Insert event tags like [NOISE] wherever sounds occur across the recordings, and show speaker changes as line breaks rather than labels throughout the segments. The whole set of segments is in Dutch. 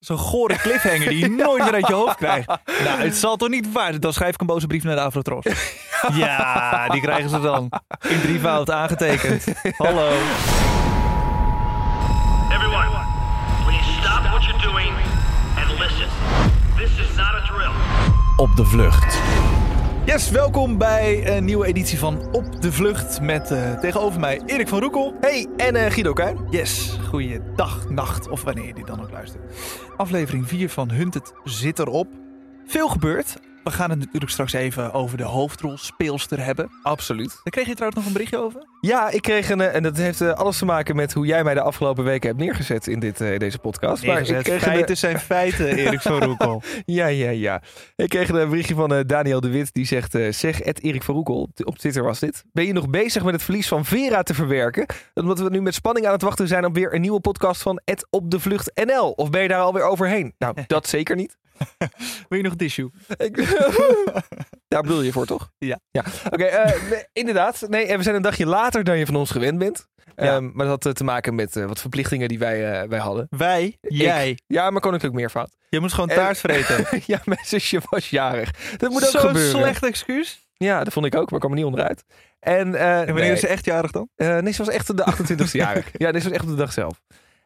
Zo'n gore cliffhanger
[LAUGHS]
die je nooit meer uit je hoofd krijgt. Nou, het zal toch niet waar zijn? Dan schrijf ik een boze brief naar de
[LAUGHS]
Avrotros. Ja, die krijgen ze dan. In drievoud aangetekend. Hallo.
Everyone, please stop what you're doing and listen. This is not a drill.
Op de vlucht.
Yes, welkom bij een nieuwe editie van Op de Vlucht. Met eh, tegenover mij Erik van Roekel.
Hey, en eh, Guido Kuin.
Yes, goeiedag, nacht of wanneer je dit dan ook luistert. Aflevering 4 van Hunted zit erop. Veel gebeurd. We gaan het natuurlijk straks even over de hoofdrol speelster hebben.
Absoluut.
Daar kreeg je trouwens nog een berichtje over.
Ja, ik kreeg een, eh, en dat heeft eh, alles te maken met hoe jij mij de afgelopen weken hebt neergezet in dit, eh, deze podcast. Maar
Neergezet.
ik kreeg een- eh,
feiten zijn feiten, Erik van Roekel.
ja, ja, ja. Ik kreeg een berichtje van eh, Daniel de Wit die zegt, eh, zeg Ed Erik van Roekel, op Twitter was dit. Ben je nog bezig met het verlies van Vera te verwerken? Omdat we nu met spanning aan het wachten zijn op weer een nieuwe podcast van Ed op de vlucht NL. Of ben je daar alweer overheen? Nou,
[LAUGHS]
dat zeker niet.
[LAUGHS] Wil je nog tissue?
Ik...
[LAUGHS]
Daar bedoel je voor, toch?
Ja.
ja. Oké, eh, nee, inderdaad. Nee, en we zijn een dagje later dan je van ons gewend bent.
Ja.
Ehm, maar dat had eh, te maken met eh, wat verplichtingen die wij, eh, wij hadden.
Wij, jij.
Ja, maar koninklijk meervoud. [LAUGHS]
Je moest gewoon
En-
taart [LAUGHS] vreten.
ja, mijn zusje was jarig. Dat moet ook
Zo'n
gebeuren.
slecht excuus.
Ja, dat vond ik ook, maar ik kwam er niet onderuit. En, eh,
En wanneer
nee.
is ze echt jarig dan?
Eh, nee, ze was echt de 28e jarig. [LAUGHS] Ja, dit was echt op de dag zelf.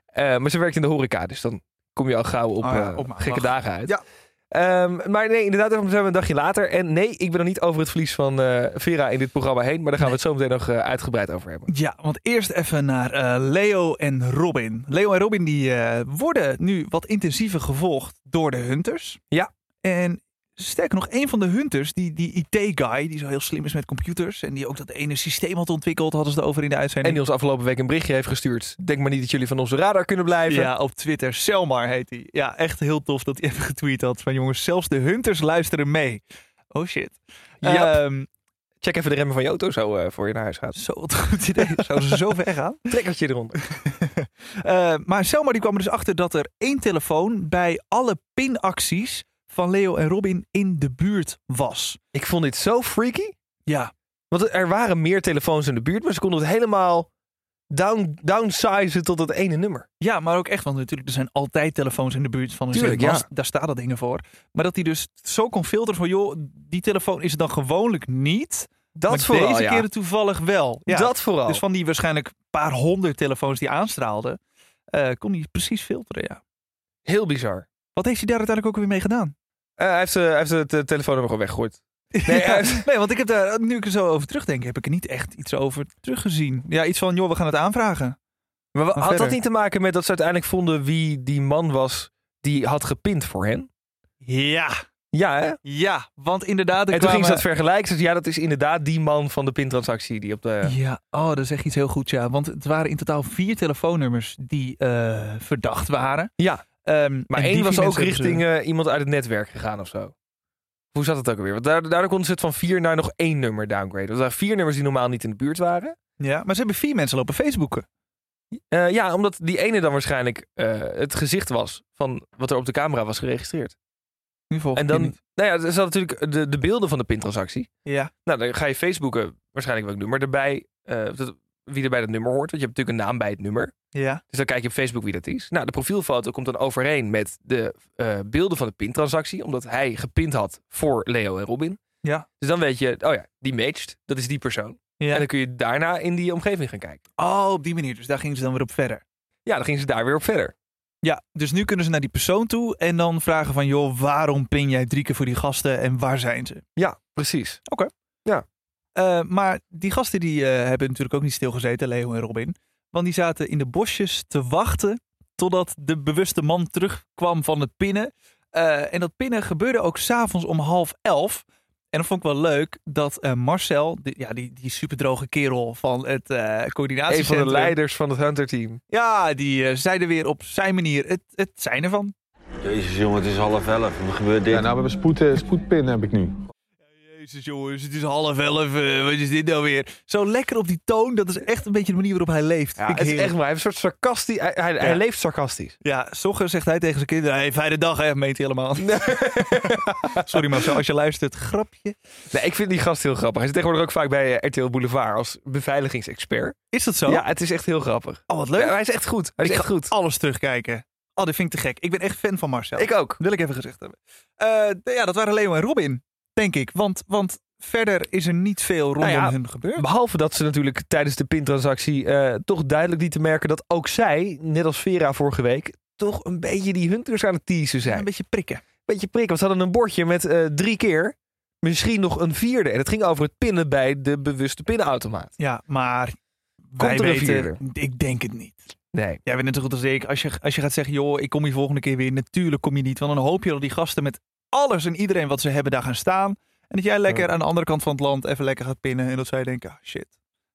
Eh, maar ze werkt in de horeca, dus dan kom je al gauw op,
Oh ja,
eh,
op maandag.
gekke dagen uit.
Ja.
Ehm, maar nee, inderdaad, daarom zijn we een dagje later. En nee, ik ben nog niet over het verlies van eh, Vera in dit programma heen. Maar daar gaan we het zo meteen nog eh, uitgebreid over hebben.
Ja, want eerst even naar eh, Leo en Robin. Leo en Robin die eh, worden nu wat intensiever gevolgd door de hunters.
Ja.
En sterker nog, een van de hunters, die, die IT-guy, die zo heel slim is met computers... en die ook dat ene systeem had ontwikkeld, hadden ze het over in de
En
uitzending.
die ons afgelopen week een berichtje heeft gestuurd. Denk maar niet dat jullie van onze radar kunnen blijven.
Ja, op Twitter. Selmar heet hij. Ja, echt heel tof dat hij [LAUGHS] even getweet had. Van jongens, zelfs de hunters luisteren mee. Oh shit.
Jap.
Ehm,
Check even de remmen van je auto zo eh, voor je naar huis gaat.
zo, wat een goed [LAUGHS] idee. Zouden ze zo ver [LAUGHS] gaan?
Trekkertje eronder.
Eh, maar Selma die kwam er dus achter dat er één telefoon bij alle pinacties van Leo en Robin in de buurt was.
[LAUGHS] Ik vond dit zo freaky.
Ja,
Want er waren meer telefoons in de buurt, maar ze konden het helemaal down, downsizen tot dat ene nummer.
ja maar ook echt, want natuurlijk er zijn altijd telefoons in de buurt van een
Tuurlijk,
zendmast.
ja.
Daar staan dat dingen voor. Maar dat hij dus zo kon filteren van joh, die telefoon is het dan gewoonlijk niet.
Dat
maar
vooral,
deze
ja.
keer toevallig wel. Ja,
Dat vooral.
Dus van die waarschijnlijk paar honderd telefoons die aanstraalden, eh, kon hij precies filteren, ja.
Heel bizar.
Wat heeft hij daar uiteindelijk ook weer mee
[LAUGHS]
gedaan?
Eh, hij, heeft, eh, hij heeft het eh, telefoonnummer gewoon weggegooid.
Nee, eh,
hij heeft-
nee, want ik heb daar, nu ik er zo over terugdenk, heb ik er niet echt iets over teruggezien. Ja, iets van, joh, we gaan het aanvragen.
Maar wa-
Maar
had dat
verder?
niet te maken met dat ze uiteindelijk vonden wie die man was die had gepind voor hen?
Ja,
Ja, hè?
ja, want inderdaad... er
en toen
kwamen-
ging ze dat vergelijken. Ze zei, ja, dat is inderdaad die man van de pintransactie die op de...
Ja, oh, dat is echt iets heel goeds, ja. Want het waren in totaal vier telefoonnummers die eh, verdacht waren.
Ja.
Ehm,
Maar
en
één
die
was
vier mensen
ook
hebben ze-
richting eh, iemand uit het netwerk gegaan of zo. Hoe zat het ook alweer? Want daar- daardoor konden ze het van vier naar nog één nummer downgraden. Dat waren vier nummers die normaal niet in de buurt waren.
Ja, maar ze hebben vier mensen lopen Facebooken.
Eh, ja, omdat die ene dan waarschijnlijk eh, het gezicht was van wat er op de camera was geregistreerd.
Nu volg
En
ik je
dan,
niet.
nou ja, er zat natuurlijk de, de beelden van de pintransactie.
Ja.
Nou, dan ga je Facebooken waarschijnlijk welk nummer erbij, eh, dat- wie er bij dat nummer hoort. Want je hebt natuurlijk een naam bij het nummer.
Ja.
Dus dan kijk je op Facebook wie dat is. Nou, de profielfoto komt dan overeen met de eh, beelden van de pintransactie, omdat hij gepind had voor Leo en Robin.
Ja.
Dus dan weet je, oh ja, die matcht, dat is die persoon.
ja.
En dan kun je daarna in die omgeving gaan kijken.
Oh, op die manier. Dus daar gingen ze dan weer op verder.
Ja, dan gingen ze daar weer op verder.
Ja, dus nu kunnen ze naar die persoon toe en dan vragen van... joh, waarom pin jij drie keer voor die gasten en waar zijn ze?
Ja, precies.
Eh, maar die gasten die eh, hebben natuurlijk ook niet stilgezeten, Leo en Robin. Want die zaten in de bosjes te wachten totdat de bewuste man terugkwam van het pinnen. Eh, en dat pinnen gebeurde ook s'avonds om half elf. En dat vond ik wel leuk dat eh, Marcel, die, ja, die, die superdroge kerel van het eh
Een van
coördinatiecentrum...
de leiders van het Hunter-team.
Ja, die eh, zei er weer op zijn manier het, het zijn ervan.
Jezus jongen, het is half elf. Wat gebeurt dit?
Ja, nou, we hebben spoed, eh, spoedpin heb ik nu.
Jezus jongens, het is half elf. eh, wat is dit nou weer? Zo lekker op die toon. Dat is echt een beetje de manier waarop hij leeft.
Ja,
Vind ik
het is
heerlijk.
echt maar. Hij, heeft een soort sarcastisch, hij, hij, hij
Ja.
leeft sarcastisch.
Ja, sommigen zegt hij tegen zijn kinderen. Hey, fijne dag, hè? Meent hij helemaal. [LAUGHS] Sorry Marcel, als je luistert. Grapje.
Nee, ik vind die gast heel grappig. Hij zit tegenwoordig ook vaak bij eh, RTL Boulevard als beveiligingsexpert.
Is dat zo?
Ja, het is echt heel grappig.
Oh, wat
Ja,
leuk.
hij is echt goed. Hij is
Ik
echt
ga
goed.
alles terugkijken. Oh, dit vind ik te gek. Ik ben echt fan van Marcel.
Ik ook.
Wil ik even gezegd hebben. Eh, ja, dat waren Leo en Robin, denk ik. Want, want verder is er niet veel rondom
ja,
hun gebeurd.
Behalve dat ze natuurlijk tijdens de pintransactie eh toch duidelijk lieten merken dat ook zij, net als Vera vorige week, toch een beetje die hunters aan het teasen zijn.
Een beetje prikken.
beetje prik. Want ze hadden een bordje met eh, drie keer. Misschien nog een vierde. En het ging over het pinnen bij de bewuste pinnenautomaat.
Ja, maar wij
er een
weten,
vierder?
ik denk het niet.
Nee.
Jij bent net zo goed als ik. Als je, als je gaat zeggen, joh, ik kom hier volgende keer weer. Natuurlijk kom je niet. Want dan hoop je dat die gasten met alles en iedereen wat ze hebben daar gaan staan. En dat jij lekker aan de andere kant van het land even lekker gaat pinnen. En dat zij denken, ah shit.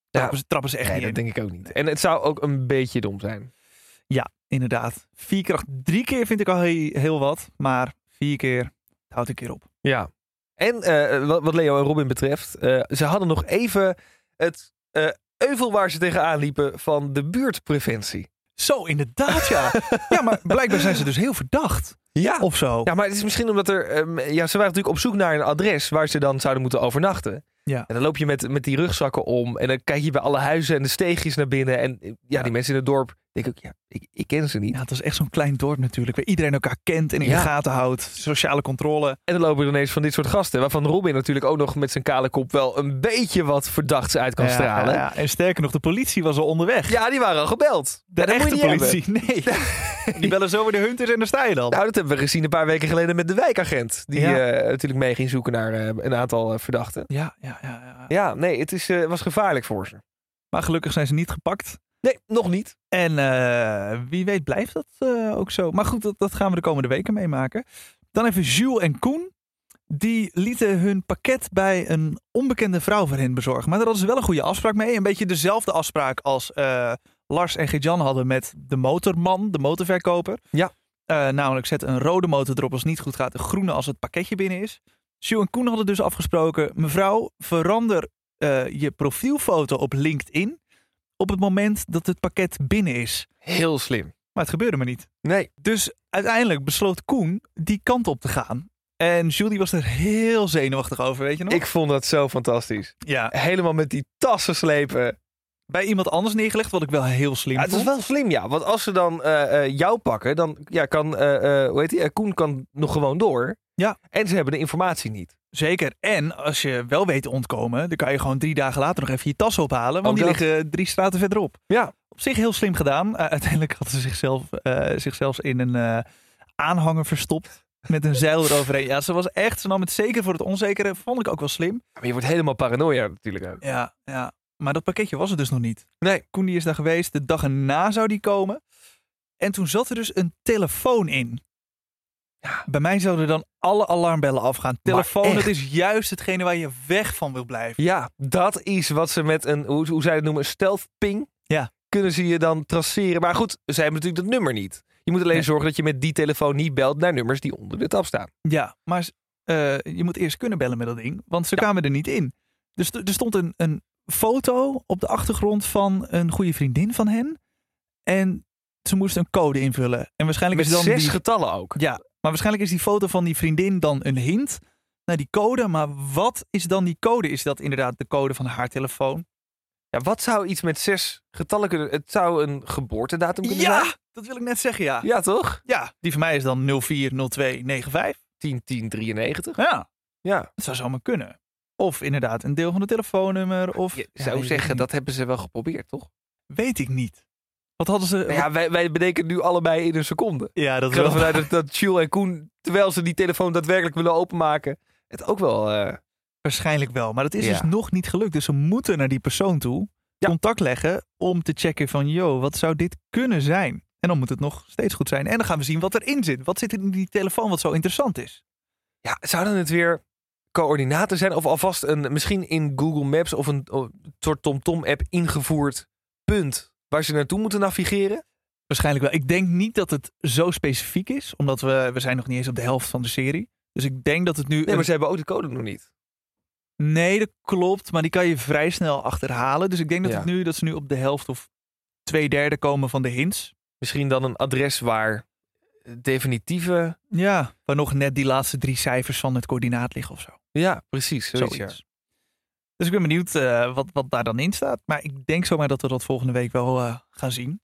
Trappen, ze, trappen ze echt
nee,
niet
dat
in.
denk ik ook niet. En het zou ook een beetje dom zijn.
Inderdaad. Vier keer, acht- drie keer vind ik al he- heel wat. Maar vier keer, het houdt een keer op.
Ja. En eh, wat, wat Leo en Robin betreft, eh, ze hadden nog even het eh, euvel waar ze tegenaan liepen van de buurtpreventie.
Zo, inderdaad,
[LAUGHS]
ja. ja, maar blijkbaar zijn ze dus heel verdacht.
Ja.
Of zo.
Ja, maar het is misschien omdat er. ehm, ja, ze waren natuurlijk op zoek naar een adres waar ze dan zouden moeten overnachten.
Ja.
En dan loop je met, met die rugzakken om. En dan kijk je bij alle huizen en de steegjes naar binnen. En eh, ja, die mensen in het dorp. Denk ik, ja, ik, ik ken ze niet.
Ja, het is echt zo'n klein dorp natuurlijk, waar iedereen elkaar kent en in
Ja.
de gaten houdt. Sociale controle.
En dan lopen er ineens van dit soort gasten. Waarvan Robin natuurlijk ook nog met zijn kale kop wel een beetje wat verdachts uit kan
Ja,
stralen. Ja,
ja, en sterker nog, de politie was al onderweg.
die waren al gebeld.
de
En dat moet je
echte
niet hebben.
politie, [LAUGHS] nee. Die bellen zo weer de hunters en daar sta je dan.
Nou, dat hebben we gezien een paar weken geleden met de wijkagent. Die
Ja.
eh, natuurlijk mee ging zoeken naar eh, een aantal eh, verdachten.
Ja, ja, ja, ja.
Ja, nee, het is, eh, was gevaarlijk voor ze.
Maar gelukkig zijn ze niet gepakt.
Nee, nog niet.
En eh, wie weet blijft dat eh, ook zo. Maar goed, dat, dat gaan we de komende weken meemaken. Dan even Jules en Koen. Die lieten hun pakket bij een onbekende vrouw voor hen bezorgen. Maar daar hadden ze wel een goede afspraak mee. Een beetje dezelfde afspraak als eh, Lars en Gejan hadden met de motorman, de motorverkoper.
Ja.
Eh, namelijk zet een rode motor erop als het niet goed gaat. Een groene als het pakketje binnen is. Jules en Koen hadden dus afgesproken. Mevrouw, verander eh, je profielfoto op LinkedIn. Op het moment dat het pakket binnen is.
Heel slim.
Maar het gebeurde maar niet.
Nee.
Dus uiteindelijk besloot Koen die kant op te gaan. En Jules die was er heel zenuwachtig over, weet je nog?
Ik vond dat zo fantastisch.
ja.
Helemaal met die tassen slepen.
Bij iemand anders neergelegd, wat ik wel heel slim
Ja, het is
vond.
wel slim, ja. Want als ze dan eh, eh, jou pakken, dan ja, kan, eh, eh, hoe heet die, Eh, Koen kan nog gewoon door.
Ja.
En ze hebben de informatie niet.
Zeker. En als je wel weet te ontkomen, dan kan je gewoon drie dagen later nog even je tas ophalen. Want
Ook
die
dat.
liggen drie straten verderop.
Ja.
Op zich heel slim gedaan. Uh, uiteindelijk hadden ze zichzelf, eh zichzelf in een eh, aanhanger verstopt. Met een zeil eroverheen. Ja, ze was echt, ze nam het zeker voor het onzekere. Vond ik ook wel slim.
Maar je wordt helemaal paranoia natuurlijk ook.
Ja, ja. Maar dat pakketje was het dus nog niet.
Nee.
Koen die is daar geweest. De dag erna zou die komen. En toen zat er dus een telefoon in. Bij mij zouden dan alle alarmbellen afgaan. Telefoon,
echt?
dat is juist hetgene waar je weg van wil blijven.
Ja, dat is wat ze met een, hoe, hoe zij het noemen, een stealth ping.
Ja.
Kunnen ze je dan traceren. Maar goed, ze hebben natuurlijk dat nummer niet. Je moet alleen
Nee.
zorgen dat je met die telefoon niet belt naar nummers die onder de tab staan.
Ja, maar eh, je moet eerst kunnen bellen met dat ding, want ze kwamen er niet in. Dus er er stond een, een foto op de achtergrond van een goede vriendin van hen. En ze moest een code invullen. En waarschijnlijk
Met
is dan
zes
die...
getallen ook.
Ja, maar waarschijnlijk is die foto van die vriendin dan een hint naar die code. Maar wat is dan die code? Is dat inderdaad de code van haar telefoon?
Ja, wat zou iets met zes getallen kunnen... Het zou een geboortedatum kunnen zijn.
Ja, dat wil ik net zeggen, ja.
Ja, toch?
Ja, die van mij is dan 040295.
10, 10, 93.
Ja,
Ja.
dat zou zomaar kunnen. Of inderdaad een deel van het telefoonnummer. Of,
Je
Ja,
zou
je weet
zeggen,
het
dat hebben ze wel geprobeerd, toch?
niet. Weet ik niet. Wat hadden ze...
Nou ja, wij, wij bedenken het nu allebei in een seconde.
ja, dat
Ik
is
ga
wel...
ervan uit dat, dat Jules en Koen, terwijl ze die telefoon daadwerkelijk willen openmaken, het ook wel... eh,
Waarschijnlijk wel, maar dat is
Ja.
dus nog niet gelukt. Dus ze moeten naar die persoon toe,
Ja.
contact leggen om te checken van, yo, wat zou dit kunnen zijn? En dan moet het nog steeds goed zijn. En dan gaan we zien wat erin zit. Wat zit er in die telefoon wat zo interessant is?
Ja, zouden het weer coördinaten zijn? Of alvast een, misschien in Google Maps of een oh, soort TomTom-app ingevoerd punt waar ze naartoe moeten navigeren?
Waarschijnlijk wel. Ik denk niet dat het zo specifiek is, omdat we, we zijn nog niet eens op de helft van de serie. Dus ik denk dat het nu...
Nee,
een-
maar ze hebben ook de code nog niet.
nee dat klopt, maar die kan je vrij snel achterhalen. Dus ik denk dat,
Ja.
het nu, dat ze nu op de helft of twee derde komen van de hints.
Misschien dan een adres waar definitieve...
Ja, waar nog net die laatste drie cijfers van het coördinaat liggen of zo.
Ja, precies. Zoiets, ja.
Zoiets. Dus ik ben benieuwd eh, wat, wat daar dan in staat. Maar ik denk zomaar dat we dat volgende week wel eh, gaan zien.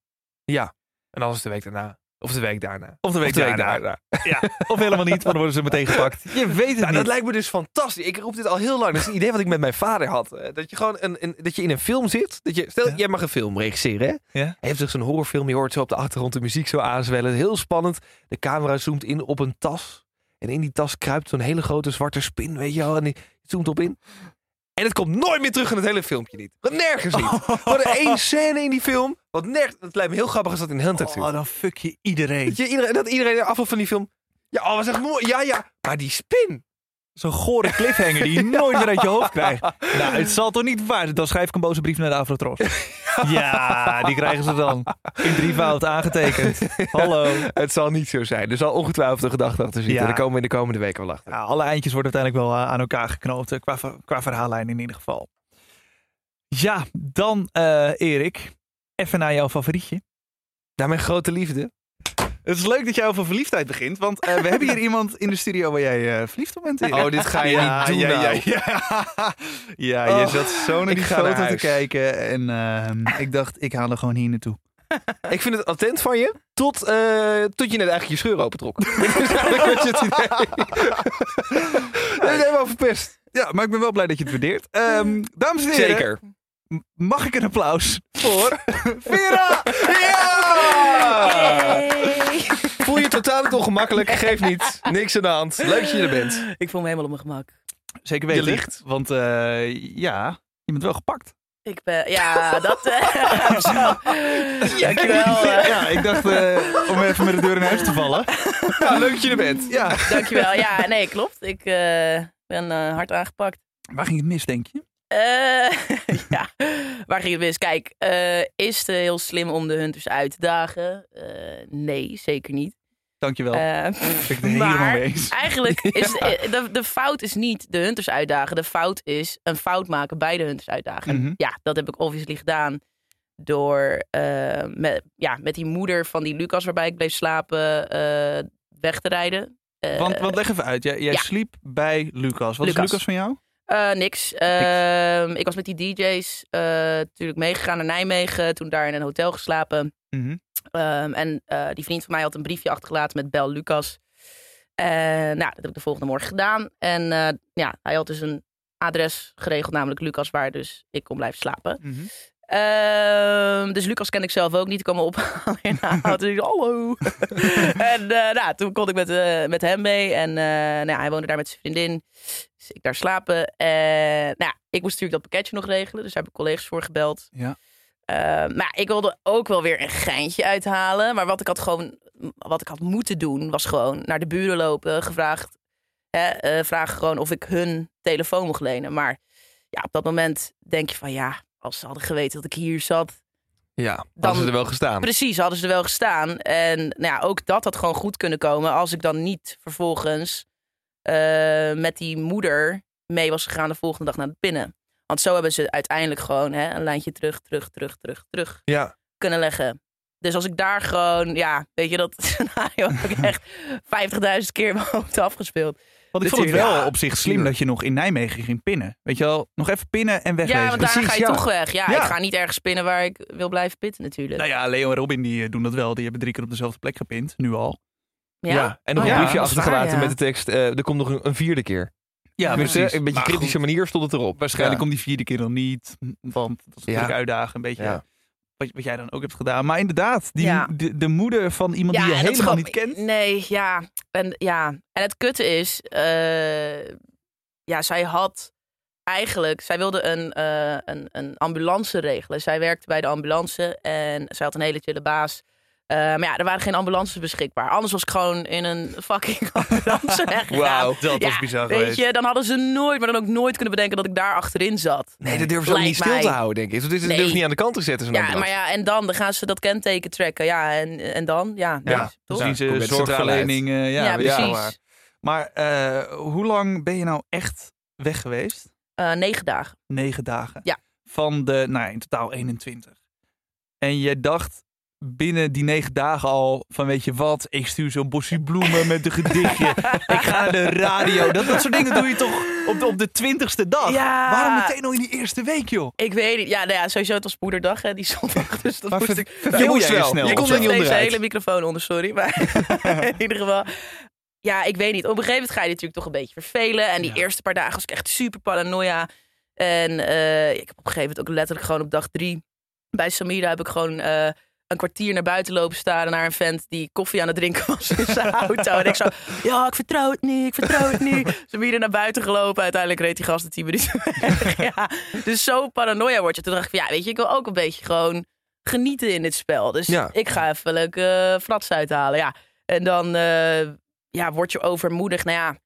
[LAUGHS]
En anders de week daarna. Of de week daarna.
Of de week
Of de week
daarna.
daarna.
Of helemaal niet, want dan worden ze meteen gepakt. Je weet het
Nou, dat
niet.
lijkt me dus fantastisch. Ik roep dit al heel lang. Dat is een idee wat ik met mijn vader had. Eh, Dat je gewoon een, een- dat je in een film zit. Dat je, stel,
Ja.
jij mag een film regisseren. Hè?
Ja.
Hij heeft dus een horrorfilm. Je hoort zo op de achtergrond de muziek zo aanzwellen. Heel spannend. De camera zoomt in op een tas. En in die tas kruipt zo'n hele grote zwarte spin. Weet je wel. En die zoomt op in. En het komt nooit meer terug in het hele filmpje niet. Wat nergens niet.
[LAUGHS]
Gewoon één scène in die film. Wat nergens. Het lijkt me heel grappig als dat in Hunter zit.
Oh, dan fuck [LAUGHS] je iedereen.
Dat, je iedereen, dat iedereen afval van die film. Ja, oh, was echt mooi. Ja, ja. Maar die spin.
Zo'n gore cliffhanger die je [LAUGHS] nooit meer uit je hoofd krijgt. Nou, het zal toch niet waar zijn? Dan schrijf ik een boze brief naar de [LAUGHS] Afrotros. Ja, die krijgen ze dan. In drievoud aangetekend. [LAUGHS] Hallo.
Het zal niet zo zijn. Er zal ongetwijfeld een gedachte achter zitten.
Ja.
Daar komen we in de komende weken wel achter.
Ja, alle eindjes worden uiteindelijk wel eh, aan elkaar geknoopt. eh, Qua, ver- qua verhaallijn in ieder geval. Ja, dan eh, Erik. Even naar jouw favorietje.
Naar mijn grote liefde.
Het is leuk dat jij over verliefdheid begint. Want eh, we hebben [LAUGHS] hier iemand in de studio waar jij eh, verliefd op bent. Erik.
Oh, dit [LAUGHS] ga je niet doen
ja,
nou.
Ja, [LAUGHS] ja. ja je
Oh,
zat zo naar
ik
die
ga naar
foto te
huis.
kijken. En ehm, ik dacht, ik haal er gewoon hier naartoe.
Ik vind het attent van je. Tot, eh, tot je net eigenlijk je scheur [LAUGHS] opentrok. Dit is eigenlijk wat je het idee. [LAUGHS] Dat is helemaal verpest.
Ja, maar ik ben wel blij dat je het waardeert. [LAUGHS] Ehm, dames en heren,
Zeker.
mag ik een applaus voor Vera? Ah.
Ja!
Hey.
Voel je totaal niet ongemakkelijk? Geef niet. Niks aan de hand. Leuk dat je er bent.
Ik voel me helemaal op mijn gemak.
Zeker
weten.
weten. Want eh, ja, je bent wel gepakt.
Ik ben, ja, dat.
[LAUGHS]
eh, zo. dankjewel. eh.
ja, ik dacht eh, om even met de deur in huis te vallen.
Ja, leuk dat je er bent.
Ja.
dankjewel. Ja, nee, klopt. Ik eh, ben eh, hard aangepakt.
Waar ging het mis, denk je?
Eh, [LAUGHS] ja, waar ging het mis? Kijk, eh, is het heel slim om de hunters uit te dagen? Eh, nee, zeker niet.
Dankjewel.
Eh,
ik ben helemaal
maar
mee eens.
[LAUGHS] eigenlijk is eh, de, de fout is niet de hunters uitdagen. De fout is een fout maken bij de hunters uitdagen. En
Mhm.
Ja, dat heb ik obviously gedaan door eh, met, ja, met die moeder van die Lucas waarbij ik bleef slapen eh, weg te rijden. Eh,
want, want leg even uit, jij, jij
ja.
sliep bij Lucas. Wat is
Lucas.
Lucas van jou?
Eh, niks. Ehm, ik was met die DJ's eh, natuurlijk meegegaan naar Nijmegen. Toen daar in een hotel geslapen.
Mhm.
Ehm, en eh, die vriend van mij had een briefje achtergelaten met Bel Lucas. En nou, dat heb ik de volgende morgen gedaan. En eh, ja, hij had dus een adres geregeld, namelijk Lucas, waar dus ik kon blijven slapen.
Mhm.
Ehm, dus Lucas kende ik zelf ook niet. Ik kwam me [LAUGHS] ophalen in de auto. En ik zei, hallo. en eh, nou, toen kon ik met, eh, met hem mee. En eh, nou, ja, hij woonde daar met zijn vriendin. Dus ik daar slapen. En nou, ja, ik moest natuurlijk dat pakketje nog regelen. Dus daar heb ik collega's voor gebeld.
Ja.
Eh, maar ik wilde ook wel weer een geintje uithalen. Maar wat ik had, gewoon, wat ik had moeten doen, was gewoon naar de buren lopen. Gevraagd, hè, eh, vragen gewoon of ik hun telefoon mocht lenen. Maar ja, op dat moment denk je van ja, als ze hadden geweten dat ik hier zat.
Ja,
Dan-
ze er wel gestaan.
Precies, hadden ze er wel gestaan. En nou ja, ook dat had gewoon goed kunnen komen als ik dan niet vervolgens eh, met die moeder mee was gegaan de volgende dag naar de pinnen. Want zo hebben ze uiteindelijk gewoon hè, een lijntje terug, terug, terug, terug, terug
Ja.
kunnen leggen. Dus als ik daar gewoon, ja, weet je, dat [LAUGHS] scenario heb ik echt 50.000 keer in mijn hoofd afgespeeld.
Want ik vond het wel op zich slim dat je nog in Nijmegen ging pinnen. Weet je wel, nog even pinnen en wegwezen.
Ja, want daar ga je
ja.
toch weg. Ja,
Ja.
ik ga niet ergens pinnen waar ik wil blijven pitten natuurlijk.
Nou ja, Leo en Robin die eh, doen dat wel. Die hebben drie keer op dezelfde plek gepind, nu al.
Ja. En nog
Oh
een
ja,
briefje
dat is waar,
achtergelaten
ja.
met de tekst. eh, er komt nog een, een vierde keer.
Ja,
Dus, eh, Een beetje
Maar
kritische
goed,
manier stond het erop.
Waarschijnlijk
Ja.
om die vierde keer dan niet. Want dat is natuurlijk
Ja.
uitdagen. Een beetje
Ja.
wat, wat jij dan ook hebt gedaan. Maar inderdaad, die,
Ja.
de, de moeder van iemand die je
en dat is
helemaal niet
gewoon-
kent.
Nee, ja. En, ja. en het kutte is, eh, ja, zij had eigenlijk, zij wilde een, eh, een, een ambulance regelen. Zij werkte bij de ambulance en zij had een hele chille baas. Eh, maar ja, er waren geen ambulances beschikbaar. Anders was ik gewoon in een fucking
[LAUGHS]
[LAUGHS] ambulance weggegaan.
Wauw,
dat
ja,
was bizar
Weet
geweest.
je, dan hadden ze nooit, maar dan ook nooit kunnen bedenken dat ik daar achterin zat.
Nee, dat durven ze ook
Lijkt
niet stil te
mij.
houden, denk ik. Dus dit is
Nee.
durven ze niet aan de kant te zetten. zo'n
Ja,
ambulance.
maar ja, en dan, dan gaan ze dat kenteken trekken. Ja, en, en dan? Ja,
Ja,
niks,
dan zien
Kom
toch?
ze
met de
zorgverlening. eh, ja,
Ja,
weet je wel
precies.
waar. Maar eh, hoe lang ben je nou echt weg geweest?
Eh, negen dagen.
Negen dagen.
Ja.
Van de, nou in totaal 21. En je dacht, binnen die negen dagen al van weet je wat, ik stuur zo'n bosje bloemen met een
[LAUGHS]
gedichtje. ik ga naar de radio. Dat, dat soort dingen doe je toch op de, op de twintigste dag?
Ja.
Waarom meteen al in die eerste week, joh?
Ik weet niet. Ja, nou ja, sowieso, het was moederdag hè, die zondag. Dus dat
Maar
moest
ver-
ik...
verveel
Nou,
jij
moest
je
wel.
snel
Je
of
komt
zo?
er niet deze
onderuit.
hele microfoon onder, sorry. Maar [LAUGHS] in ieder geval... Ja, ik weet niet. Op een gegeven moment ga je natuurlijk toch een beetje vervelen. En die eerste paar dagen was ik echt super paranoia. En eh, ik heb op een gegeven moment ook letterlijk gewoon op dag drie... Bij Samira heb ik gewoon... eh, een kwartier naar buiten lopen staren naar een vent die koffie aan het drinken was in zijn auto. En ik zo, ja, ik vertrouw het niet, ik vertrouw het niet. Ze hebben hier naar buiten gelopen. Uiteindelijk reed die gast de tien minuten [LAUGHS] weg. Ja, dus zo paranoia word je. Toen dacht ik, van, ja, weet je, ik wil ook een beetje gewoon genieten in dit spel. Dus
Ja.
ik ga even leuk eh frats uithalen, ja. En dan eh, ja, word je overmoedig. Nou ja,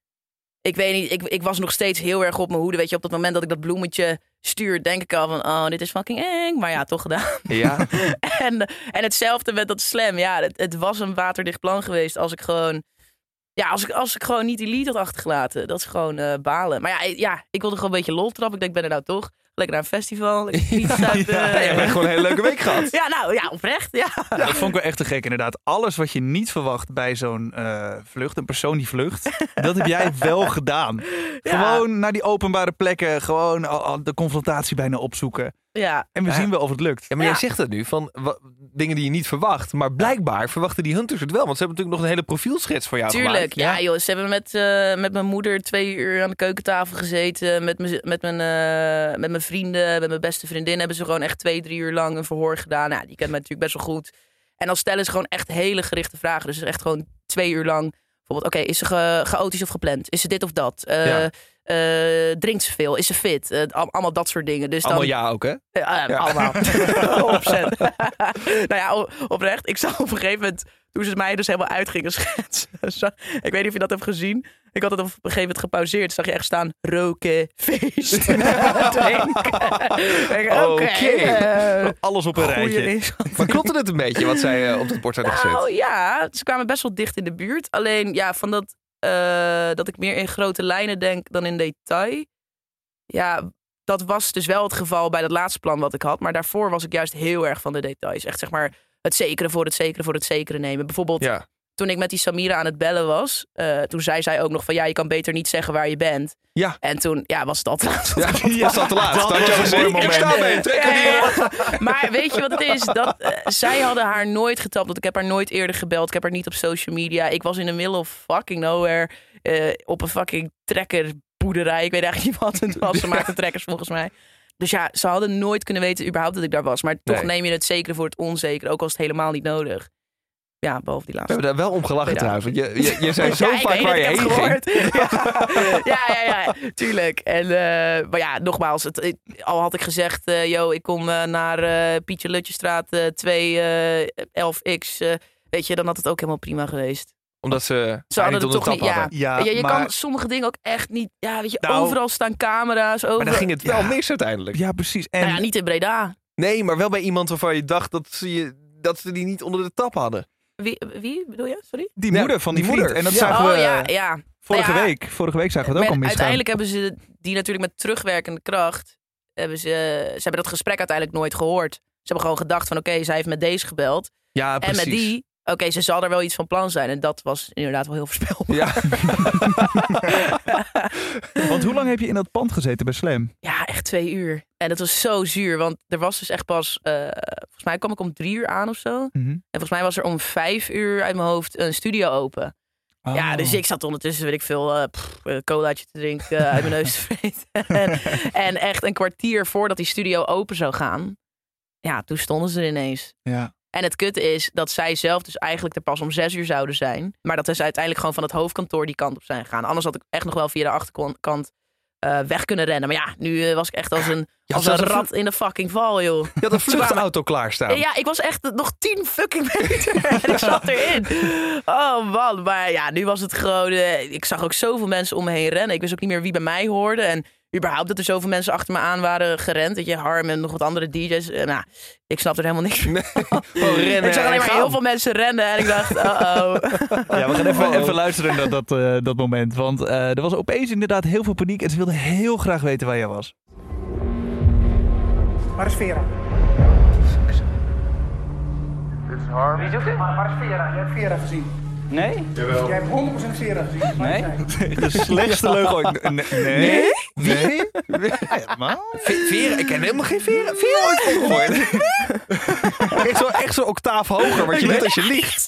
ik weet niet, ik, ik was nog steeds heel erg op mijn hoede. Weet je, op dat moment dat ik dat bloemetje stuur, denk ik al van, oh, dit is fucking eng. Maar ja, toch gedaan.
Ja.
[LAUGHS] En, en hetzelfde met dat slam. Ja, het, het was een waterdicht plan geweest als ik gewoon. Ja, als ik, als ik gewoon niet die lead had achtergelaten. Dat is gewoon eh, balen. Maar ja, ik- ja, ik wilde gewoon een beetje lol trappen. Ik denk, ik ben er nou toch. Lekker naar een festival.
[LAUGHS]
Lekker niet zuipen.
Ja, je hebt gewoon een hele leuke week gehad.
Ja, nou ja, oprecht. Ja.
Ja, dat vond ik wel echt te gek, inderdaad. Alles wat je niet verwacht bij zo'n eh, vlucht, een persoon die [LAUGHS] vlucht, dat heb jij wel gedaan. Gewoon naar die openbare plekken, gewoon al- al de confrontatie bijna opzoeken.
ja.
En we
Ja.
zien wel of het lukt.
Ja, maar jij
Ja.
zegt dat nu, van wa- dingen die je niet verwacht. Maar blijkbaar verwachten die hunters het wel. Want ze hebben natuurlijk nog een hele profielschets voor jou
Tuurlijk,
gemaakt.
ja, joh. Ze hebben met, eh, met mijn moeder twee uur aan de keukentafel gezeten. Met, mijn- met, mijn, eh, met mijn vrienden, met mijn beste vriendin hebben ze gewoon echt twee, drie uur lang een verhoor gedaan. Nou, die kent mij natuurlijk best wel goed. En dan stellen ze gewoon echt hele gerichte vragen. Dus echt gewoon twee uur lang. Bijvoorbeeld, oké, is ze ge- chaotisch of gepland? Is ze dit of dat? Eh,
Ja.
eh, drinkt ze veel? Is ze fit? Eh, al- allemaal dat soort dingen. Dus
Allemaal
dan,
ja ook, hè?
ja, eh, [LAUGHS] Allemaal. Opzet. [LAUGHS] nou ja, o- oprecht. Ik zag op een gegeven moment, toen ze mij dus helemaal uit gingen [LAUGHS] schetsen. zag- ik weet niet of je dat hebt gezien. Ik had het op een gegeven moment gepauzeerd. Zag je echt staan, roken, [LAUGHS] feest, drinken. Ik, Oké.
Oké.
eh,
Alles op een
goeie
rijtje.
is-
Maar klopte het een beetje wat zij eh, op het bord hadden gezet?
nou ja, ze kwamen best wel dicht in de buurt. Alleen ja, van dat, eh, dat ik meer in grote lijnen denk dan in detail. Ja, dat was dus wel het geval bij dat laatste plan wat ik had. Maar daarvoor was ik juist heel erg van de details. Echt zeg maar het zekere voor het zekere voor het zekere nemen. Bijvoorbeeld
Ja.
toen ik met die Samira aan het bellen was. eh, toen zei zij ook nog van ja, je kan beter niet zeggen waar je bent.
Ja.
En toen ja, was [LAUGHS] het al te laat.
Ja, was dat te laat?
Dat
had je
was
al
een
gezien?
mooi
Ik sta
moment.
mee, trek hem
Ja,
hier.
ja, ja. [LAUGHS] Maar weet je wat het is? Dat, eh, zij hadden haar nooit getapt. Want ik heb haar nooit eerder gebeld. Ik heb haar niet op social media. Ik was in the middle of fucking nowhere. eh, op een fucking trekkerboerderij. Ik weet eigenlijk niet wat het was. Ze maakten trekkers volgens mij. Dus ja, ze hadden nooit kunnen weten überhaupt dat ik daar was. Maar toch
Nee.
neem je het zekere voor het onzekere. Ook al is het helemaal niet nodig. Ja, behalve die
We
laatste.
hebben daar wel om gelachen
Ja.
trouwens. Want je, je, je zei zo
Ja, ik
vaak
weet
waar
het,
je
ik
heen
heb
ging.
het
[LAUGHS]
gehoord. Ja, ja, ja, ja, tuurlijk. En, eh, maar ja, nogmaals, het, het- al had ik gezegd, eh, yo, ik kom eh, naar eh Pietje Lutjestraat eh 2, eh, 11x. eh, weet je, dan had het ook helemaal prima geweest.
Omdat ze,
Ze
haar
hadden
niet
het
onder
toch
de tap
niet, ja.
hadden.
Ja,
Weet je je
maar-
kan sommige dingen ook echt niet, ja, weet je,
Nou,
overal staan camera's, over.
Maar dan ging het wel
Ja.
mis uiteindelijk.
Ja, precies. En
Nou ja, niet in Breda.
Nee, maar wel bij iemand waarvan je dacht dat ze, je, dat ze die niet onder de tap hadden.
Wie, wie bedoel je? Sorry?
die
Ja,
moeder van die,
die
vriend.
moeder.
En dat
Ja. eh,
zagen
oh
we
ja, ja.
vorige
Nou ja,
week. Vorige week zagen we het ook
Met-
al misgaan.
Uiteindelijk hebben ze die natuurlijk met terugwerkende kracht. Hebben ze, ze hebben dat gesprek uiteindelijk nooit gehoord. Ze hebben gewoon gedacht van oké, zij heeft met deze gebeld.
Ja, precies.
En met die, oké, ze zal er wel iets van plan zijn. En dat was inderdaad wel heel voorspelbaar.
[LAUGHS] Ja.
Want hoe lang heb je in dat pand gezeten bij Slam?
Ja, echt twee uur. En dat was zo zuur, want er was dus echt pas... eh, volgens mij kwam ik om drie uur aan of zo. En volgens mij was er om vijf uur uit mijn hoofd een studio open.
Oh.
Ja,
[LAUGHS]
dus ik zat ondertussen, weet ik veel, eh pff, een colaatje te drinken, eh, uit mijn neus te vreten.
[LAUGHS]
en, en echt een kwartier voordat die studio open zou gaan, ja, toen stonden ze er ineens.
Ja.
En het kutte is dat zij zelf dus eigenlijk er pas om zes uur zouden zijn. Maar dat ze uiteindelijk gewoon van het hoofdkantoor die kant op zijn gegaan. Anders had ik echt nog wel via de achterkant eh, weg kunnen rennen. Maar ja, nu eh, was ik echt als een, als een
zelfs een
rat in de fucking val, joh.
Je had een
Ze kwamen-
vluchtauto klaarstaan.
Ja, ik was echt nog tien fucking [LAUGHS] meter en ik zat erin. Oh man, maar ja, nu was het gewoon... eh, ik zag ook zoveel mensen om me heen rennen. Ik wist ook niet meer wie bij mij hoorde. En überhaupt dat er zoveel mensen achter me aan waren gerend. Weet je, Harm en nog wat andere DJ's. Eh, nou, ik snapte er helemaal niks van.
Gewoon rennen
ik zag
en
alleen maar
gaan.
heel veel mensen rennen en ik dacht, oh oh
Ja, we gaan even,
Oh.
even luisteren naar dat, eh, dat moment. Want eh, er was opeens inderdaad heel veel paniek. En ze wilden heel graag weten waar jij was.
Waar is Vera? Dit is Harm. Wie zoekt het? Waar is Vera? Jij hebt Vera gezien.
Nee?
Jij hebt 100% Vera gezien.
Nee?
De slechtste leugen ooit. Nee? Nee? nee?
Vera, ik ken helemaal geen Vera. Vera ooit van gehoord. [LAUGHS] echt zo'n echt zo octaaf hoger, wat je doet als je liegt.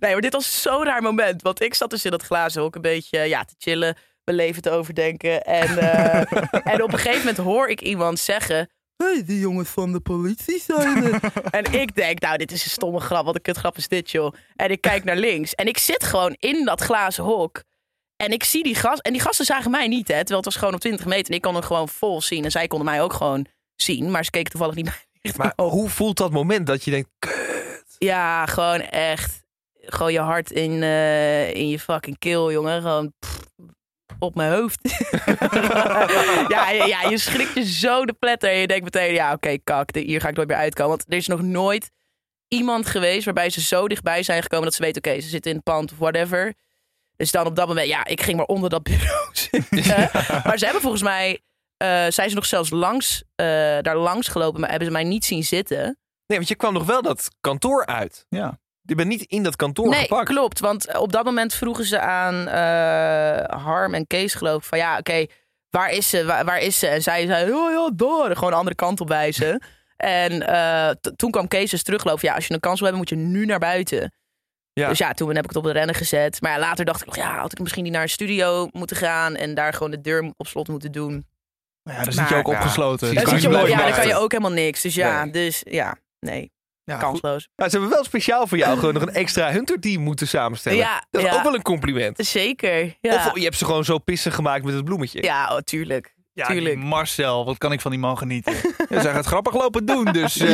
Nee, maar dit was zo'n raar moment. Want ik zat dus in dat glazen hok een beetje ja, te chillen, mijn leven te overdenken. En, eh, en op een gegeven moment hoor ik iemand zeggen... hey, die jongens van de politie zijn er. en ik denk, nou, dit is een stomme grap. Wat een kutgrap is dit, joh. En ik kijk naar links. En ik zit gewoon in dat glazen hok. En ik zie die gasten. En die gasten zagen mij niet, hè. Terwijl het was gewoon op 20 meter. En ik kon hem gewoon vol zien. En zij konden mij ook gewoon zien. Maar ze keken toevallig niet meer.
Maar hoe voelt dat moment dat je denkt,
Ja, gewoon echt. Gewoon je hart in, eh, in je fucking keel, jongen. Gewoon pff, op mijn hoofd. [LAUGHS] ja, ja, ja, je schrikt je zo de pletter. En je denkt meteen, ja, oké, kak, dit- hier ga ik nooit meer uitkomen. Want er is nog nooit iemand geweest waarbij ze zo dichtbij zijn gekomen dat ze weten, oké, ze zitten in het pand of whatever. Dus dan op dat moment, ja, ik ging maar onder dat bureau [LAUGHS] zitten. Maar ze hebben volgens mij, eh, zijn ze nog zelfs langs, eh, daar langs gelopen, maar hebben ze mij niet zien zitten.
Nee, want je kwam nog wel dat kantoor uit.
Ja.
Je bent niet in dat kantoor
nee,
gepakt.
klopt. Want eh, op dat moment vroegen ze aan eh, Harm en Kees geloof ik van ja, oké, waar is ze? Waar, waar is ze? En zij zei, ja, ja, door. Gewoon de andere kant op
[LAUGHS]
wijzen. en eh, t- toen kwam Kees dus teruglopen. Ja, als je een kans wil hebben, moet je nu naar buiten.
Ja.
Dus ja, toen heb ik het op de rennen gezet. Maar ja, later dacht ik nog, ja, had ik misschien niet naar een studio moeten gaan en daar gewoon de deur op slot moeten doen.
Nou ja, dan zit je
Maar-
ook opgesloten.
Ja,
Dat kan
kan
Dan zit
je
je op-
nooit
ja, dan
maken.
kan je ook helemaal niks. Dus ja,
Nee.
dus ja, nee,
Ja, goed.
kansloos.
Ja, ze hebben wel speciaal voor jou gewoon nog een extra hunterteam moeten samenstellen.
Ja,
dat is
ja.
ook wel een compliment.
Zeker. Ja,
Of je hebt ze gewoon zo pissig gemaakt met het bloemetje.
ja oh, tuurlijk.
Ja, die
tuurlijk.
Marcel, wat kan ik van die man genieten? [LAUGHS] ja, zij gaat grappig lopen doen, dus... eh,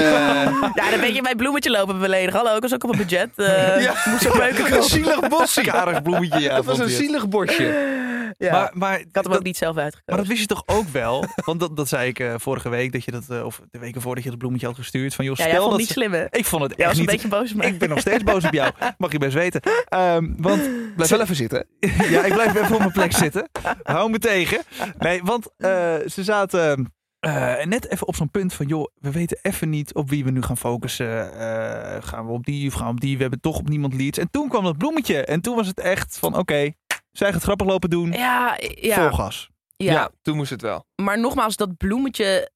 Ja, dan ben je bij bloemetje lopen beledigen. Hallo, ik was ook op een budget.
[LAUGHS]
Eh,
Ja.
Moest ook leuker
Een
komen.
zielig [LAUGHS] bosje.
Karig bloemetje, ja.
dat was
vond
een
hij het.
zielig bosje.
Ja.
Maar, maar,
ik had hem
dat,
ook niet zelf
maar
uitgekomen.
dat wist je toch ook wel? Want dat, dat zei ik eh, vorige week, dat je dat, eh, of de weken voordat je dat bloemetje had gestuurd. Van, joh,
Ja,
stel
jij vond
dat
het niet
ze-
slim, hè?
Ik vond het
Jij
echt
was een
niet...
beetje boos, maar...
Ik ben nog steeds boos op jou, mag je best weten. Ehm, want
Blijf wel even zitten.
ja, ik blijf even op mijn plek zitten. Hou me tegen. Nee, want eh, ze zaten eh, net even op zo'n punt van... joh, we weten even niet op wie we nu gaan focussen. Eh, gaan we op die of gaan we op die? We hebben toch op niemand leads. En toen kwam dat bloemetje. En toen was het echt van oké, zij gaat grappig lopen doen.
Ja,
Vol
ja,
gas.
ja.
toen moest het wel.
Maar nogmaals, dat bloemetje...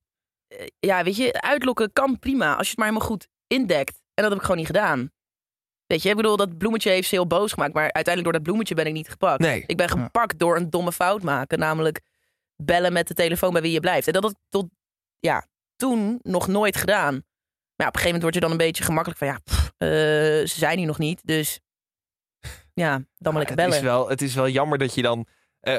eh, Ja, weet je, uitlokken kan prima. Als je het maar helemaal goed indekt. En dat heb ik gewoon niet gedaan. Weet je, ik bedoel, dat bloemetje heeft ze heel boos gemaakt. Maar uiteindelijk door dat bloemetje ben ik niet gepakt.
Nee.
Ik ben gepakt door een domme fout maken. Namelijk bellen met de telefoon bij wie je blijft. En dat had ik tot ja, toen nog nooit gedaan. Maar ja, op een gegeven moment word je dan een beetje gemakkelijk van... ja, pff, eh, ze zijn hier nog niet, dus ja, dan maar lekker
Ah, het,
bellen.
is wel, het is wel jammer dat je dan eh,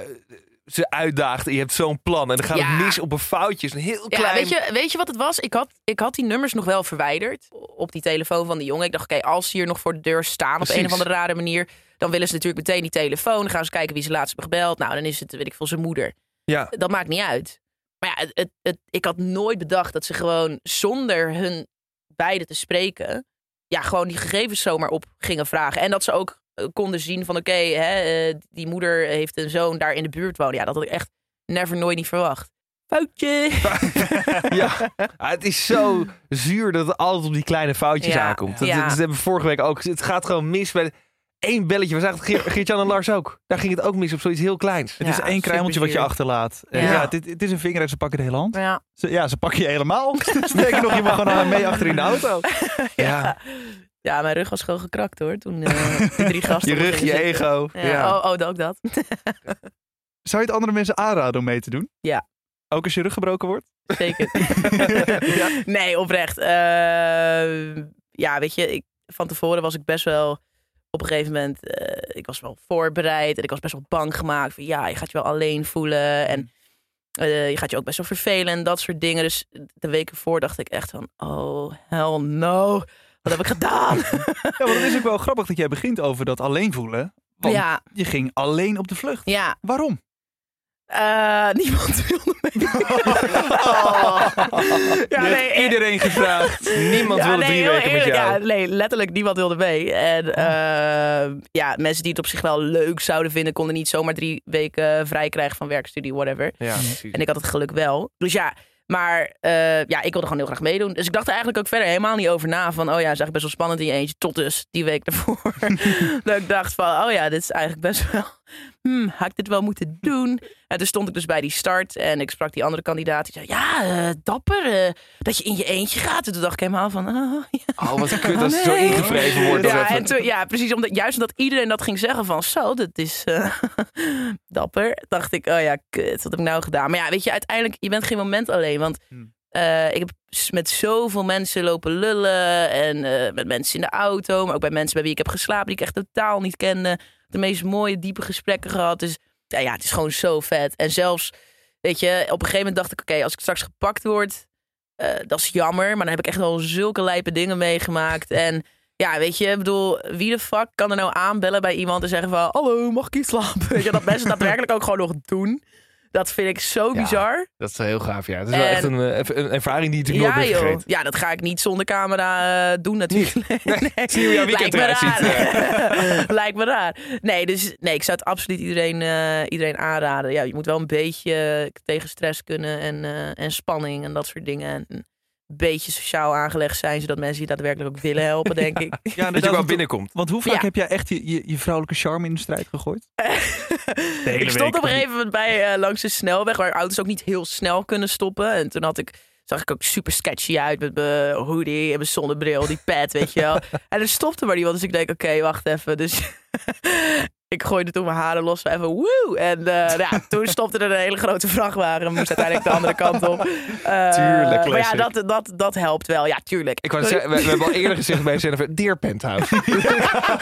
ze uitdaagt en je hebt zo'n plan. En dan gaat
Ja.
het mis op een foutje. Is Een heel
Ja,
klein...
weet, je, weet je wat het was? Ik had, ik had die nummers nog wel verwijderd op die telefoon van die jongen. Ik dacht, oké, als ze hier nog voor de deur staan op
Precies.
een of andere rare manier... dan willen ze natuurlijk meteen die telefoon. Dan gaan ze kijken wie ze laatst hebben gebeld. Nou, dan is het, weet ik veel, zijn moeder.
Ja.
Dat maakt niet uit. Maar ja, het, het, het- ik had nooit bedacht dat ze gewoon zonder hun beiden te spreken... ja, gewoon die gegevens zomaar op gingen vragen. En dat ze ook eh, konden zien van, oké, hè, eh, die moeder heeft een zoon daar in de buurt wonen. Ja, dat had ik echt never nooit niet verwacht. Foutje!
Ja. Ah, het is zo zuur dat het altijd op die kleine foutjes
Ja.
aankomt. Dat,
Ja.
dat hebben we vorige week ook. Het gaat gewoon mis bij één belletje. We zagen het Geert- Geert-Jan en Lars ook. Daar ging het ook mis op zoiets heel kleins.
Het
Ja,
is één kruimeltje wat je
superzuur.
achterlaat. Ja,
Ja.
ja dit, het is een vinger en ze pakken de hele hand.
Ja.
Ze, ja, ze pakken je helemaal. [LAUGHS] Sterker nog, je mag gewoon aan mee achter in de auto.
Ja.
Ja, mijn rug was gewoon gekrakt hoor. Toen eh, die
[LAUGHS]
drie gasten.
Je rug,
gingen
je
zitten.
ego.
Ja, Oh, oh, ook
[LAUGHS]
dat.
Zou je het andere mensen aanraden om mee te doen?
Ja.
Ook als je rug gebroken wordt?
Zeker. [LAUGHS] Nee, oprecht. Eh, ja, weet je, ik, van tevoren was ik best wel op een gegeven moment. eh, ik was wel voorbereid en ik was best wel bang gemaakt. Van, ja, je gaat je wel alleen voelen
Mm.
en eh, je gaat je ook best wel vervelen en dat soort dingen. Dus de weken voor dacht ik echt van: oh, hell no. Wat heb ik gedaan?
Ja, want het is ook wel grappig dat jij begint over dat alleen voelen. Want
ja,
je ging alleen op de vlucht.
ja.
Waarom?
Eh, niemand [LAUGHS] wilde
[LAUGHS]
mee. ja,
Je
nee,
hebt
eh,
iedereen gevraagd. Niemand
ja,
wilde
nee,
drie
heel
weken met
eerlijk,
jou.
Ja, nee, letterlijk niemand wilde mee. En eh, ja, mensen die het op zich wel leuk zouden vinden, konden niet zomaar drie weken vrij krijgen van werk, studie, whatever.
Ja, precies.
En ik had het geluk wel. Dus ja, Maar eh, ja, ik wilde gewoon heel graag meedoen. Dus ik dacht er eigenlijk ook verder helemaal niet over na. Van, oh ja, is eigenlijk best wel spannend in je eentje. Tot dus die week daarvoor. dat ik dacht van, oh ja, dit is eigenlijk best wel... Hmm, had ik dit wel moeten doen? En toen stond ik dus bij die start. En ik sprak die andere kandidaat. Die zei, ja, eh, dapper eh, dat je in je eentje gaat. En toen dacht ik helemaal van, oh, ja.
Oh,
[LAUGHS]
wat kut als het zo
Nee.
ingevreven wordt.
Ja,
Ja,
en toen, ja, precies. Omdat, juist omdat iedereen dat ging zeggen van zo, dat is eh, [LAUGHS] dapper. Dacht ik, oh ja, kut, wat heb ik nou gedaan? Maar ja, weet je, uiteindelijk, je bent geen moment alleen. Want eh, ik heb s- met zoveel mensen lopen lullen. En eh, met mensen in de auto. Maar ook bij mensen bij wie ik heb geslapen die ik echt totaal niet kende. De meest mooie, diepe gesprekken gehad. Dus ja, ja het is gewoon zo vet. En zelfs, weet je, op een gegeven moment dacht ik, oké, als ik straks gepakt word... eh, dat is jammer, maar dan heb ik echt al zulke lijpe dingen meegemaakt. En ja, weet je, ik bedoel, wie de fuck kan er nou aanbellen bij iemand en zeggen van... Hallo, mag ik hier slapen? [LAUGHS] Weet je, dat mensen daadwerkelijk ook gewoon nog doen. Dat vind ik zo
Ja,
bizar.
dat is wel heel gaaf, ja. Het is wel
En-
echt een, eh, een ervaring die je natuurlijk
Ja,
nooit meer
joh.
vergeet.
Ja, dat ga ik niet zonder camera eh, doen natuurlijk. Nee, nee.
Zie je hoe jouw weekend
Lijkt me
eruit ziet.
raar. [LAUGHS] Lijkt me raar. Nee, dus nee, ik zou het absoluut iedereen, eh, iedereen aanraden. Ja, je moet wel een beetje eh, tegen stress kunnen en, eh, en spanning en dat soort dingen. En een beetje sociaal aangelegd zijn, zodat mensen je daadwerkelijk ook willen helpen, denk ik.
Ja,
[LAUGHS] Dat je wel
want-
binnenkomt.
Want hoe vaak
Ja.
heb jij echt je, je, je vrouwelijke charme in de strijd gegooid? hele
ik stond
week.
op een gegeven moment bij eh, langs de snelweg waar auto's ook niet heel snel kunnen stoppen. En toen had ik, zag ik ook super sketchy uit met mijn hoodie en mijn zonnebril, die pet, weet
[LAUGHS]
je wel. En er stopte maar iemand, dus ik denk, oké, wacht even. Dus [LAUGHS] ik gooide toen mijn haren los, even woe. En eh, nou ja, toen stopte er een hele grote vrachtwagen en moest uiteindelijk de andere kant
[LAUGHS]
op. Eh,
Tuurlijk,
Maar ja,
classic.
dat, dat, dat helpt wel, ja, tuurlijk.
Ik wou net zeggen, we, we hebben al eerder gezegd bij Jennifer, Dear Penthouse.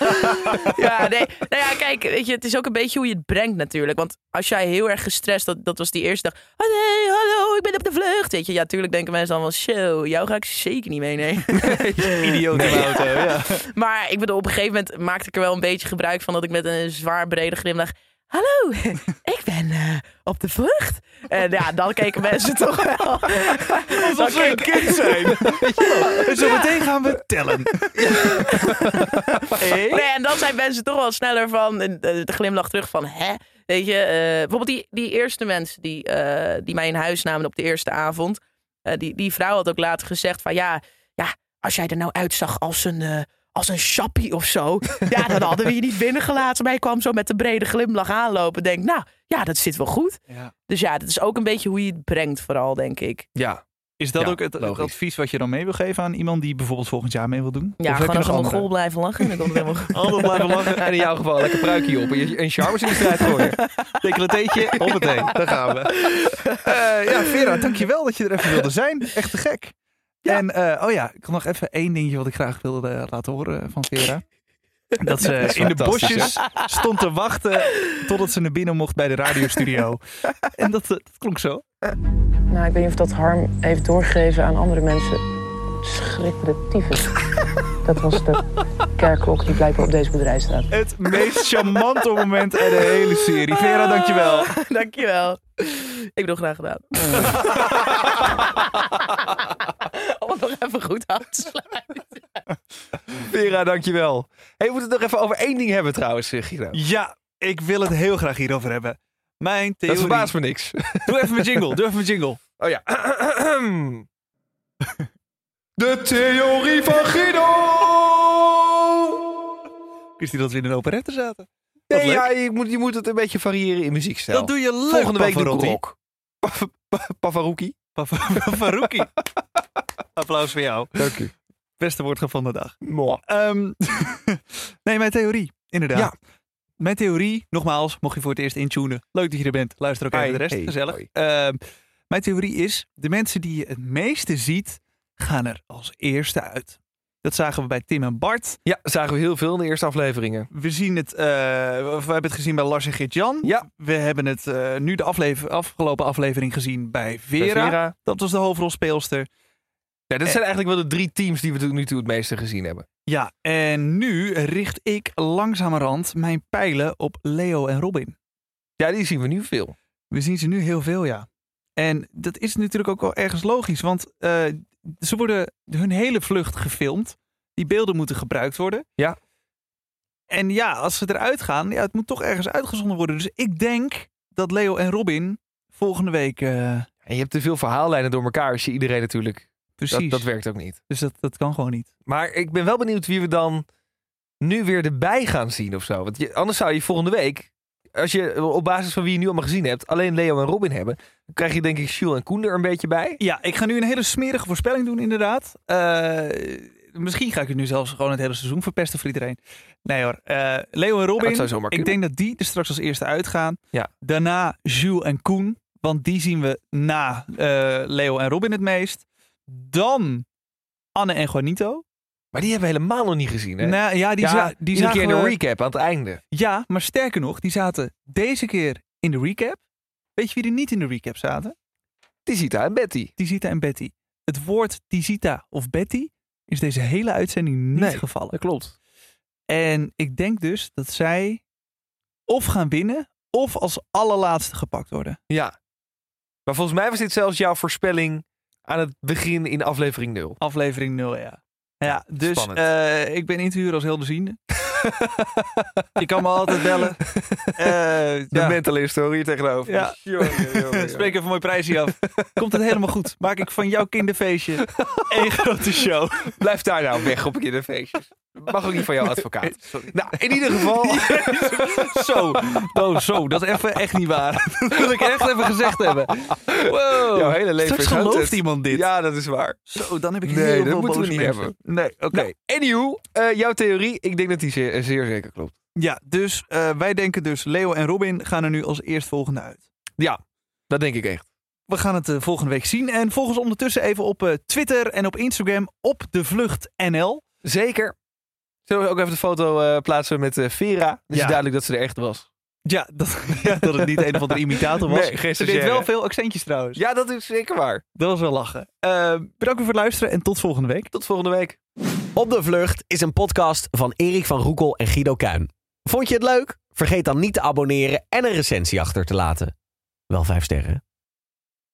[LAUGHS] ja, nee. Nou ja, kijk, weet je, het is ook een beetje hoe je het brengt natuurlijk. Want als jij heel erg gestrest, dat, dat was die eerste dag. Oh nee, hallo, ik ben op de vlucht. Weet je, ja, tuurlijk denken mensen dan wel, show, jou ga ik zeker niet meenemen. [LAUGHS]
Idioot in de auto,
[LAUGHS]
ja.
maar ik bedoel, op een gegeven moment maakte ik er wel een beetje gebruik van dat ik met een zwaar brede glimlach. Hallo, [LAUGHS] ik ben eh, op de vlucht. En ja, dan keken mensen toch wel. Dan
we een
keken-
kind zijn.
[LAUGHS]
En zo meteen gaan we tellen.
Nee, en dan zijn mensen toch wel sneller van eh, de glimlach terug van hè. Weet je, eh, bijvoorbeeld die, die eerste mensen die, eh, die mij in huis namen op de eerste avond. eh, die, die vrouw had ook later gezegd van ja, ja als jij er nou uitzag als een, eh als een chappie of
[LAUGHS]
zo. ja, dan hadden we je niet binnengelaten. Maar je kwam zo met een brede glimlach aanlopen. Denk nou, ja, dat zit wel goed.
Ja.
Dus ja, dat is ook een beetje hoe je het brengt vooral, denk ik.
Ja,
Is dat
Ja,
ook het, het
logisch.
advies wat je dan mee wil geven aan iemand die bijvoorbeeld volgend jaar mee wil doen?
Ja,
Of heb
gewoon
je nog
als een
andere?
mogol blijven lachen. Dan komt het
[LAUGHS]
helemaal goed.
Altijd blijven lachen.
en in jouw geval lekker pruikje op en je- en charmers in de strijd gooien.
Decolleteetje, hoppatee.
Daar gaan we.
Eh, ja, Vera, dankjewel dat je er even wilde zijn. Echt te gek. En, eh, oh ja, ik had nog even één dingetje wat ik graag wilde eh, laten horen van Vera. Dat ze
[LAUGHS] Dat is
in de
fantastisch,
bosjes stond te wachten totdat ze naar binnen mocht bij de radiostudio. En dat, eh, dat klonk zo.
Nou, ik weet niet of dat Harm heeft doorgegeven aan andere mensen. Schrik me de tyfus. Dat was de kerkklok die blijkbaar op deze boerderij staat.
Het meest charmante moment uit de hele serie. Vera, dankjewel.
[LAUGHS] Dankjewel. Ik heb nog graag gedaan. Om het nog even goed aan te sluiten.
Vera, dankjewel. Hey, we moeten het nog even over één ding hebben trouwens, eh, Guido.
Ja, ik wil het heel graag hierover hebben. Mijn
Dat
theorie...
verbaast me niks.
Doe even mijn jingle, doe even mijn jingle.
Oh ja. [CLEARS THROAT] De theorie van Guido!
Ik wist niet dat we in een operette zaten. Wat
Nee,
leuk.
ja, je moet, je moet het een beetje variëren in muziekstijl.
Dat doe je leuk,
Volgende week doe ik
Pavarotti.
rock. Pa- pa- Pavarotti.
Pa- pa-
[LAUGHS]
Farouki. Applaus voor jou.
Dank u.
Beste woordje van de dag. Ehm, [LAUGHS] nee, mijn theorie. Inderdaad.
Ja.
Mijn theorie, nogmaals, mocht je voor het eerst intunen. Leuk dat je er bent. Luister ook even
Hi.
de rest.
Hey.
Gezellig.
Hoi.
Ehm, mijn theorie is, de mensen die je het meeste ziet, gaan er als eerste uit. Dat zagen we bij Tim en Bart.
Ja, zagen we heel veel in de eerste afleveringen.
We, zien het, eh, of we hebben het gezien bij Lars en Geert-Jan.
Ja.
We hebben het eh, nu de aflever- afgelopen aflevering gezien bij
Bij Eh.
Vera. Dat was de hoofdrolspeelster.
Ja, dat zijn eigenlijk wel de drie teams die we tot nu toe het meeste gezien hebben.
Ja, en nu richt ik langzamerhand mijn pijlen op Leo en Robin.
Ja, die zien we nu veel.
We zien ze nu heel veel, ja. En dat is natuurlijk ook wel ergens logisch, want eh, ze worden hun hele vlucht gefilmd. Die beelden moeten gebruikt worden.
Ja.
En ja, als ze eruit gaan, ja, het moet toch ergens uitgezonden worden. Dus ik denk dat Leo en Robin volgende week eh,
En je hebt te veel verhaallijnen door elkaar als je iedereen natuurlijk...
Precies.
Dat, dat werkt ook niet.
Dus dat, dat kan gewoon niet.
Maar ik ben wel benieuwd wie we dan nu weer erbij gaan zien of zo. Want je, anders zou je volgende week, als je op basis van wie je nu allemaal gezien hebt, alleen Leo en Robin hebben. Dan krijg je denk ik Jules en Koen er een beetje bij.
Ja, ik ga nu een hele smerige voorspelling doen, inderdaad. Eh, misschien ga ik het nu zelfs gewoon het hele seizoen verpesten voor iedereen. Nee hoor. Eh, Leo en Robin.
dat zou zomaar
ik
kunnen.
denk dat die er straks als eerste uitgaan.
Ja.
Daarna Jules en Koen. Want die zien we na eh, Leo en Robin het meest. Dan Anne en Juanito.
Maar die hebben we helemaal nog niet gezien. Hè?
Nou, ja, die,
ja,
za- die
iedere
zagen
keer in de
we-
recap aan het einde.
Ja, maar sterker nog, die zaten deze keer in de recap. Weet je wie er niet in de recap zaten?
Tizita en Betty.
Tizita en Betty. Het woord Tizita of Betty is deze hele uitzending niet
Nee.
gevallen.
klopt.
En ik denk dus dat zij of gaan winnen of als allerlaatste gepakt worden.
Ja. Maar volgens mij was dit zelfs jouw voorspelling aan het begin in aflevering 0.
Aflevering 0, ja. Ja, dus
spannend.
eh, ik ben in te huren als heel de [LAUGHS] ziende. Je kan me altijd bellen. Eh
De
ja.
mentale historie hier tegenover.
Ja.
Jongen, jongen,
[LAUGHS]
jongen.
Spreek even mooi prijsje af. Komt het helemaal goed. Maak ik van jouw
[LAUGHS]
kinderfeestje één grote show.
Blijf daar nou weg op kinderfeestjes. Mag ook niet van jouw advocaat.
[LAUGHS]
Nou, in ieder geval.
Zo, nou, zo, dat is even echt niet waar. [LAUGHS] Dat wil ik echt even gezegd hebben. Wow.
Jouw hele leven
Straks
is hand-
gelooft iemand dit.
Ja, dat is waar.
Zo, dan heb ik
Nee,
heel
dat
veel
moeten we
boze
niet
mensen.
hebben.
Nee, oké.
Nou, anywho, eh, jouw theorie, ik denk dat die zeer, eh, zeer zeker klopt.
Ja, dus eh, wij denken dus Leo en Robin gaan er nu als eerstvolgende uit.
Dat denk ik echt.
We gaan het eh, volgende week zien. En volg ons ondertussen even op eh, Twitter en op Instagram op de vlucht NL.
Zeker. Zullen we ook even de foto eh, plaatsen met eh, Vera? Het is
Ja.
duidelijk dat ze er echt was.
Ja, dat, [LAUGHS] ja, dat het niet een of andere imitator was.
Nee, geen
Ze deed
stagiaire.
wel veel accentjes trouwens.
Ja, dat is zeker waar.
Dat was wel lachen. Eh, bedankt weer voor het luisteren en tot volgende week.
Tot volgende week.
Op de Vlucht is een podcast van Erik van Roekel en Guido Kuin. Vond je het leuk? Vergeet dan niet te abonneren en een recensie achter te laten. Wel vijf sterren. hè?